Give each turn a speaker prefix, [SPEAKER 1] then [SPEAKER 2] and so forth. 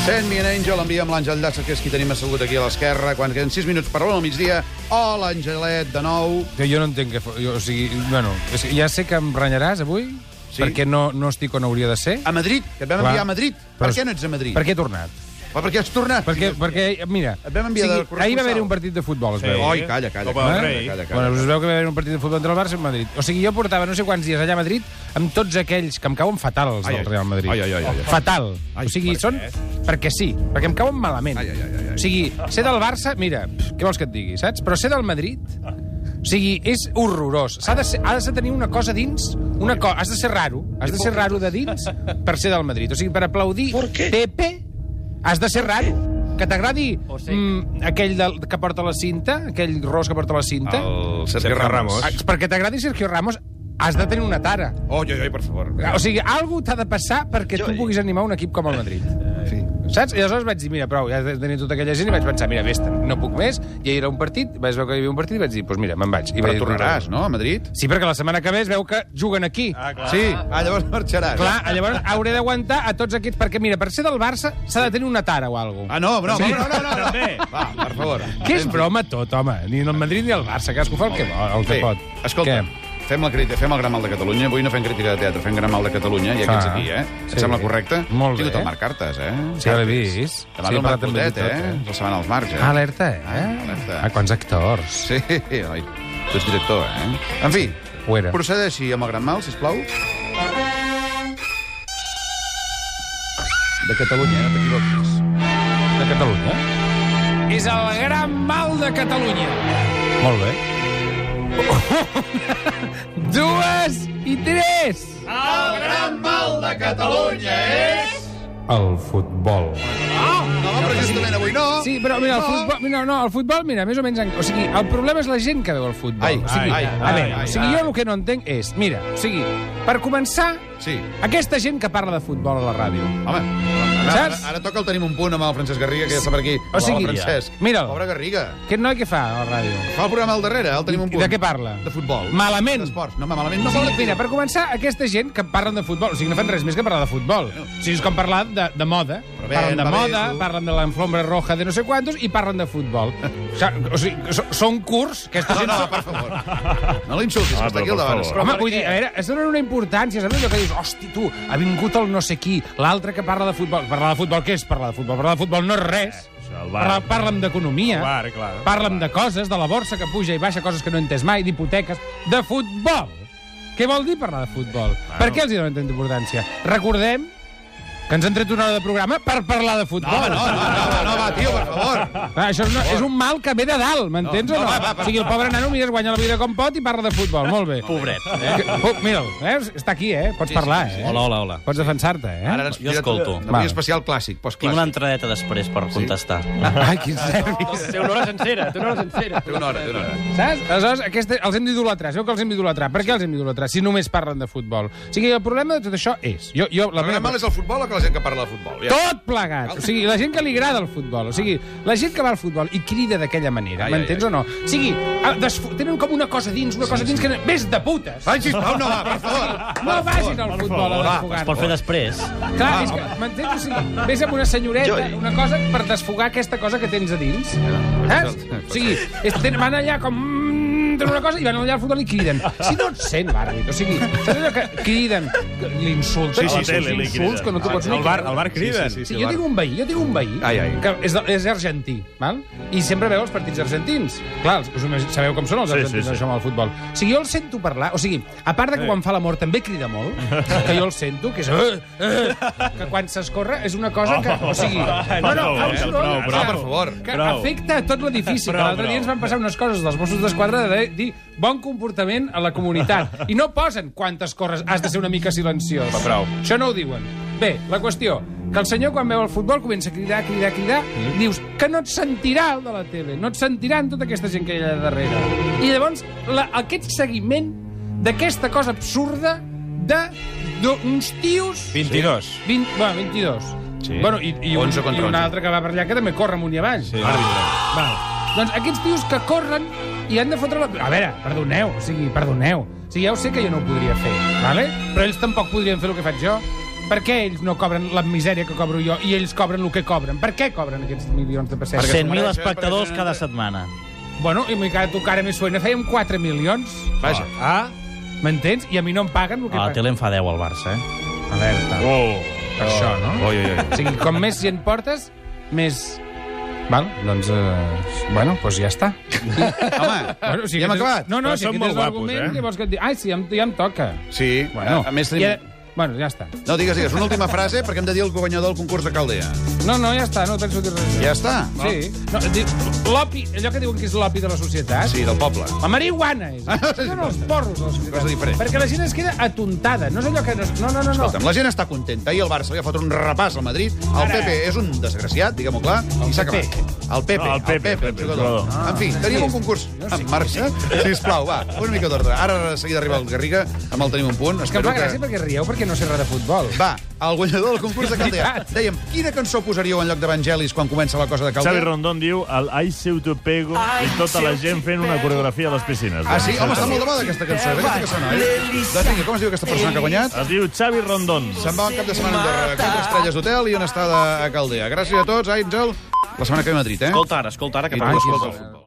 [SPEAKER 1] Angel, envia amb l'Àngel Llàcer, que és qui tenim assegut aquí a l'esquerra, quan queden 6 minuts per l'una al migdia. Hola, Angelet, de nou.
[SPEAKER 2] Que jo no entenc que... fo- Jo, o sigui, bueno, és que ja sé que em renyaràs avui,
[SPEAKER 1] Sí. Ah,
[SPEAKER 2] sí. perquè no, no estic on hauria de ser.
[SPEAKER 1] A Madrid, que et vam
[SPEAKER 2] Clar.
[SPEAKER 1] enviar a Madrid. Per
[SPEAKER 2] Però-
[SPEAKER 1] què no ets a Madrid?
[SPEAKER 2] Per què he tornat?
[SPEAKER 1] Però per què has tornat?
[SPEAKER 2] Perquè, perquè mira,
[SPEAKER 1] eh, Et vam enviar de corresponsal. Oh,
[SPEAKER 2] ahir va haver-hi un partit de futbol, es
[SPEAKER 3] Sí.
[SPEAKER 2] veu.
[SPEAKER 1] Oi, calla, calla.
[SPEAKER 3] Copa del
[SPEAKER 1] calla,
[SPEAKER 3] Rei.
[SPEAKER 1] calla, calla.
[SPEAKER 2] Bueno, us veu que va haver un partit de futbol entre el Barça i el Madrid. O sigui, jo portava no sé quants dies allà a Madrid amb tots aquells que em cauen fatal, els
[SPEAKER 1] Ai,
[SPEAKER 2] del
[SPEAKER 1] ai.
[SPEAKER 2] Real Madrid.
[SPEAKER 1] Ai, ai, ai, ai, ai.
[SPEAKER 2] Fatal.
[SPEAKER 1] Ai,
[SPEAKER 2] o sigui,
[SPEAKER 1] per
[SPEAKER 2] són... Perquè sí, perquè em cauen malament.
[SPEAKER 1] Ai, ai, ai, ai, ai.
[SPEAKER 2] O sigui, ser del Barça... Mira, pff, què vols que et digui, saps? Però ser del Madrid... O sigui, és horrorós. S'ha de, ser, has de tenir una cosa dins... Una co has de ser raro. Has de ser raro de dins per ser del Madrid. O sigui, per aplaudir Pepe has de ser raro. Que t'agradi mm, aquell del, que porta la cinta, aquell ros que porta la cinta.
[SPEAKER 1] El Sergio
[SPEAKER 3] Sergio
[SPEAKER 1] Ramos.
[SPEAKER 3] Ramos.
[SPEAKER 2] Ah, Perquè t'agradi Sergio Ramos, has de tenir una tara.
[SPEAKER 1] Oi, oi, oi, per favor.
[SPEAKER 2] O sigui, algú t'ha de passar perquè tu puguis animar un equip com el Madrid.
[SPEAKER 1] Sí.
[SPEAKER 2] Saps? I aleshores vaig dir, mira, prou, ja tenia tota aquella gent i vaig pensar, mira, vés no puc més, i ahir era un partit, vaig veure que hi havia un partit i vaig dir, doncs pues mira, me'n vaig. I
[SPEAKER 1] Però
[SPEAKER 2] vaig
[SPEAKER 1] tornaràs, no, a Madrid?
[SPEAKER 2] Sí, perquè la setmana que ve es veu que juguen aquí. Ah,
[SPEAKER 3] clar.
[SPEAKER 1] Sí, ah, llavors marxaràs.
[SPEAKER 2] clar, llavors hauré d'aguantar a tots aquests, perquè mira, per ser del Barça s'ha de tenir una tara o alguna cosa.
[SPEAKER 1] Ah, no, no,
[SPEAKER 2] Sí.
[SPEAKER 1] no, no, no, no.
[SPEAKER 3] També.
[SPEAKER 1] Va, per favor.
[SPEAKER 2] Que és broma tot, home. Ni el Madrid ni el Barça, cadascú fa el que vol, el
[SPEAKER 1] Bé,
[SPEAKER 2] que pot.
[SPEAKER 1] Escolta,
[SPEAKER 2] Què?
[SPEAKER 1] fem, la crítica, fem el gran mal de Catalunya. Avui no fem crítica de teatre, fem gran mal de Catalunya. I aquests
[SPEAKER 2] Ah,
[SPEAKER 1] aquí, eh? Et
[SPEAKER 2] sí.
[SPEAKER 1] sembla correcte?
[SPEAKER 2] Molt
[SPEAKER 1] Tingut
[SPEAKER 2] bé.
[SPEAKER 1] el Marc Cartes, eh?
[SPEAKER 2] Sí, ja l'he vist.
[SPEAKER 1] Demà
[SPEAKER 2] Sí,
[SPEAKER 1] sí,
[SPEAKER 2] he
[SPEAKER 1] el Marc
[SPEAKER 2] parlat amb ell
[SPEAKER 1] Cotet,
[SPEAKER 2] i tot,
[SPEAKER 1] eh?
[SPEAKER 2] eh?
[SPEAKER 1] La setmana dels Marcs, eh?
[SPEAKER 2] Ah, alerta, eh?
[SPEAKER 1] Ah, alerta.
[SPEAKER 2] Ah, quants actors.
[SPEAKER 1] Sí, oi. Tu ets director, eh? En fi,
[SPEAKER 2] Ho era.
[SPEAKER 1] procedeixi amb el gran mal, sisplau. De Catalunya, eh? no t'equivoquis.
[SPEAKER 2] de Catalunya. És el gran mal de Catalunya. Molt bé. Dues i tres.
[SPEAKER 1] El gran mal de Catalunya és...
[SPEAKER 2] El futbol.
[SPEAKER 1] No, però justament avui no.
[SPEAKER 2] Sí, però mira, el futbol, mira, no, el futbol, mira, més o menys... en- O sigui, el problema és la gent que veu el futbol.
[SPEAKER 1] Ai,
[SPEAKER 2] o sigui,
[SPEAKER 1] ai,
[SPEAKER 2] a
[SPEAKER 1] ai,
[SPEAKER 2] veure,
[SPEAKER 1] ai,
[SPEAKER 2] o sigui,
[SPEAKER 1] ai.
[SPEAKER 2] jo el que no entenc és... Mira, o sigui, per començar,
[SPEAKER 1] Sí.
[SPEAKER 2] aquesta gent que parla de futbol a la ràdio,
[SPEAKER 1] Home, ara, ara,
[SPEAKER 2] Saps?
[SPEAKER 1] ara toca el tenim un punt amb el Francesc Garriga, que ja està per aquí.
[SPEAKER 2] O sigui,
[SPEAKER 1] Hola, Francesc.
[SPEAKER 2] mira'l.
[SPEAKER 1] Pobre Garriga.
[SPEAKER 2] aquest noi què fa a la ràdio?
[SPEAKER 1] Fa el programa al darrere, el tenim un
[SPEAKER 2] I
[SPEAKER 1] punt.
[SPEAKER 2] de què parla?
[SPEAKER 1] De futbol.
[SPEAKER 2] Malament.
[SPEAKER 1] D'esports. No, home, malament no.
[SPEAKER 2] Sí,
[SPEAKER 1] pobre tio.
[SPEAKER 2] mira, per començar, aquesta gent que parlen de futbol, o sigui, no fan res més que parlar de futbol. O sigui, és com parlar de, de moda.
[SPEAKER 1] Però bé,
[SPEAKER 2] Parlen de
[SPEAKER 1] va bé,
[SPEAKER 2] moda,
[SPEAKER 1] tu.
[SPEAKER 2] parlen de l'enflombra roja de no sé quantos i parlen de futbol. O sigui, o sigui, so- són curts, aquesta
[SPEAKER 1] No,
[SPEAKER 2] gent...
[SPEAKER 1] no,
[SPEAKER 2] són-
[SPEAKER 1] per favor. No l'insultis, que
[SPEAKER 3] Ah,
[SPEAKER 1] està
[SPEAKER 3] però
[SPEAKER 1] aquí al
[SPEAKER 3] per
[SPEAKER 1] davant.
[SPEAKER 3] favor.
[SPEAKER 2] Home, vull dir, a veure, es donen una importància, saps allò que dius, hosti, tu, ha vingut el no sé qui, l'altre que parla de futbol. Parlar de futbol, què és parlar de futbol? Parlar de futbol no és res.
[SPEAKER 3] Eh, Això, el bar.
[SPEAKER 2] Parla, parlem
[SPEAKER 4] Eh?
[SPEAKER 2] d'economia,
[SPEAKER 3] El bar, clar.
[SPEAKER 2] parlem
[SPEAKER 3] El
[SPEAKER 2] de
[SPEAKER 3] bar.
[SPEAKER 2] coses, de la borsa que puja i baixa, coses que no he entès mai, d'hipoteques, de futbol. Què vol dir parlar de futbol? Per què els hi donen tanta importància? Recordem que ens han tret una hora de programa per parlar de futbol.
[SPEAKER 1] No, no, no, no, va, tio, per favor.
[SPEAKER 2] Ah, Això és, una, és un mal que ve de dalt, m'entens
[SPEAKER 1] No,
[SPEAKER 2] o no?
[SPEAKER 1] no, va, va, va.
[SPEAKER 2] o sigui, el pobre nano mira, es guanya la vida com pot i parla de futbol. Molt bé.
[SPEAKER 4] Pobret.
[SPEAKER 2] Eh? Oh, mira'l, eh? està aquí, eh? Pots parlar, eh?
[SPEAKER 4] Hola, hola, hola.
[SPEAKER 2] Pots defensar-te, eh?
[SPEAKER 1] Ara ens
[SPEAKER 4] Jo escolto.
[SPEAKER 1] Avui
[SPEAKER 2] Vale.
[SPEAKER 1] especial clàssic,
[SPEAKER 4] Tinc una
[SPEAKER 1] postclàssic.
[SPEAKER 4] entradeta després per contestar.
[SPEAKER 2] Ai, quin nervis.
[SPEAKER 5] Té una hora sencera, té una hora sencera.
[SPEAKER 1] Té una hora, té una hora.
[SPEAKER 2] Saps? Aleshores, aquesta, els hem d'idolatrar. Sabeu que els hem d'idolatrar. Per què els hem d'idolatrar si només parlen de futbol? O sigui, el problema de tot això és... Jo, jo, la
[SPEAKER 1] El gran
[SPEAKER 2] meva...
[SPEAKER 1] mal és el futbol o que la gent que parla de futbol? Ja.
[SPEAKER 2] Tot plegat. O sigui, la gent que li agrada el futbol. O sigui, la gent que va al futbol i crida d'aquella manera.
[SPEAKER 1] Ai, ai,
[SPEAKER 2] M'entens
[SPEAKER 1] ai.
[SPEAKER 2] o no? O sigui, a- desfo- tenen com una cosa dins, una cosa dins que... no- Ves de putes!
[SPEAKER 1] Ai, sisplau, no, va, per favor.
[SPEAKER 2] No vagin al futbol a
[SPEAKER 1] Va,
[SPEAKER 4] Es
[SPEAKER 2] desfogar
[SPEAKER 4] pot fer després.
[SPEAKER 2] Clar,
[SPEAKER 3] Ah,
[SPEAKER 2] és que, m'entens? O sigui, ves amb una senyoreta, una cosa per desfogar aquesta cosa que tens a dins.
[SPEAKER 3] Ah,
[SPEAKER 2] Saps? O sigui, és, ten- van allà com... mm, tenen una cosa i van allà al futbol i criden. Si no et sent, l'àrbit, o sigui, saps allò que criden, que l'insulten,
[SPEAKER 3] Sí, sí,
[SPEAKER 2] els
[SPEAKER 3] sí, li
[SPEAKER 2] insults
[SPEAKER 3] criden.
[SPEAKER 2] que no t'ho pots ni
[SPEAKER 3] El bar, el bar crida.
[SPEAKER 1] Sí, sí, sí.
[SPEAKER 2] Sí, jo tinc un veí, jo tinc un veí
[SPEAKER 1] Ai, ai.
[SPEAKER 2] que és, de- és argentí, val? i sempre veu els partits argentins. Clar, els- us imagi- sabeu com són els
[SPEAKER 3] Sí,
[SPEAKER 2] argentins
[SPEAKER 3] sí, sí.
[SPEAKER 2] això amb el futbol. O sigui, jo el sento parlar, o sigui, a part de que quan fa l'amor també crida molt, que jo el sento, que és... Eh, eh, que quan s'escorre és una cosa que... O sigui,
[SPEAKER 3] no,
[SPEAKER 2] fa un
[SPEAKER 3] eh,
[SPEAKER 2] soroll, o
[SPEAKER 3] Oh, prou, prou,
[SPEAKER 2] sigui,
[SPEAKER 1] per favor.
[SPEAKER 2] Que
[SPEAKER 3] Prou.
[SPEAKER 2] afecta a tot l'edifici. que
[SPEAKER 3] Prou,
[SPEAKER 2] L'altre dia
[SPEAKER 3] prou.
[SPEAKER 2] ens van passar unes coses dels Mossos d'Esquadra de dir bon comportament a la comunitat. I no posen quantes corres has de ser una mica silenciós.
[SPEAKER 3] Va, prou.
[SPEAKER 2] Això no ho diuen. Bé, la qüestió, que el senyor quan veu el futbol comença a cridar, cridar, cridar, mm. dius que no et sentirà el de la tele, no et sentiran tota aquesta gent que hi ha darrere. I llavors, la, aquest seguiment d'aquesta cosa absurda de d'uns tios...
[SPEAKER 3] 22.
[SPEAKER 2] 20, bueno, 22.
[SPEAKER 3] Sí.
[SPEAKER 2] Bueno, i, i, un,
[SPEAKER 1] 11 contra
[SPEAKER 2] i un
[SPEAKER 1] 11.
[SPEAKER 2] altre que va per allà que també corre amunt i avall. Sí.
[SPEAKER 3] Àrbitre.
[SPEAKER 2] Val. Doncs aquests tios que corren i han de fotre la... A veure, perdoneu, o sigui, perdoneu. O sigui, ja ho sé que jo no ho podria fer, vale? però ells tampoc podrien fer el que faig jo. per què ells no cobren la misèria que cobro jo i ells cobren el que cobren? Per què cobren aquests milions de pessetes?
[SPEAKER 4] 100.000
[SPEAKER 1] mereix, eh,
[SPEAKER 4] espectadors
[SPEAKER 1] perquè-
[SPEAKER 4] cada setmana.
[SPEAKER 2] Bueno, i m'he quedat tu cara més suena. Fèiem 4 milions.
[SPEAKER 1] Vaja.
[SPEAKER 2] Ah, m'entens? I a mi no em paguen el que
[SPEAKER 4] A la
[SPEAKER 2] paguen.
[SPEAKER 4] tele en fa 10 al Barça, eh?
[SPEAKER 2] Alerta.
[SPEAKER 1] Oh.
[SPEAKER 2] Per això, no?
[SPEAKER 1] Oi, oi, oi.
[SPEAKER 2] O sigui, com més gent portes, més... Val, doncs... Eh, bueno, doncs ja està.
[SPEAKER 1] Home, ja hem
[SPEAKER 2] Bueno, aquest és-
[SPEAKER 1] acabat.
[SPEAKER 2] No, no,
[SPEAKER 3] Però
[SPEAKER 2] si
[SPEAKER 3] són
[SPEAKER 2] aquest
[SPEAKER 3] molt
[SPEAKER 2] és
[SPEAKER 3] guapos,
[SPEAKER 2] l'argument,
[SPEAKER 3] eh?
[SPEAKER 2] eh? llavors que et dic... Ai, sí, em, ja em toca.
[SPEAKER 1] Sí,
[SPEAKER 2] Bueno,
[SPEAKER 1] a, a més tenim...
[SPEAKER 2] Ja, bueno, ja està.
[SPEAKER 1] No digues, digues, una última frase perquè hem de dir el guanyador del concurs de Caldea.
[SPEAKER 2] No, no, ja està, no penso dir res.
[SPEAKER 1] Ja està?
[SPEAKER 2] Sí. No, dic, l'opi, allò que diuen que és l'opi de la societat...
[SPEAKER 1] Sí, del poble.
[SPEAKER 2] La marihuana és.
[SPEAKER 1] Ah, sí,
[SPEAKER 2] Això Són
[SPEAKER 1] sí,
[SPEAKER 2] els porros de la societat.
[SPEAKER 1] Cosa diferent.
[SPEAKER 2] Perquè la gent es queda atontada. No és allò que... No, no, no, no.
[SPEAKER 1] Escolta'm, la gent està contenta. Ahir el Barça li ha fotut un repàs al Madrid. El
[SPEAKER 2] Ara.
[SPEAKER 1] Pepe és un desgraciat, diguem-ho clar, i s'ha
[SPEAKER 2] Pepe.
[SPEAKER 1] acabat. El Pepe,
[SPEAKER 3] No, el
[SPEAKER 1] el
[SPEAKER 3] Pepe,
[SPEAKER 1] Pepe, el
[SPEAKER 3] Pepe,
[SPEAKER 1] jugador.
[SPEAKER 3] jugador. Ah,
[SPEAKER 1] En fi, tenim un concurs en marxa. Sisplau, va, una mica d'ordre. Ara de seguida arriba el Garriga, amb el tenim un punt.
[SPEAKER 2] És que em
[SPEAKER 1] Espero
[SPEAKER 2] fa gràcia perquè rieu perquè no sé res de futbol.
[SPEAKER 1] Va, el guanyador del concurs de Caldea.
[SPEAKER 2] Veritat.
[SPEAKER 1] Dèiem, quina cançó posaríeu en lloc d'Evangelis quan comença la cosa de Caldea?
[SPEAKER 3] Xavi Rondón diu el I seu te pego i tota la gent fent una coreografia a les piscines.
[SPEAKER 1] Ah, sí? Home, està molt de moda aquesta cançó. Aquesta que sona, eh? Doncs vinga, com es diu aquesta persona que ha guanyat?
[SPEAKER 3] Es diu Xavi Rondón.
[SPEAKER 1] Se'n va un cap de setmana a Andorra, quatre estrelles d'hotel i una estada a Caldea. Gràcies a tots, Àngel. La setmana que ve a Madrid, eh?
[SPEAKER 4] Escolta ara, escolta ara, que
[SPEAKER 1] I tu,
[SPEAKER 4] parles
[SPEAKER 1] escolta.
[SPEAKER 4] del futbol.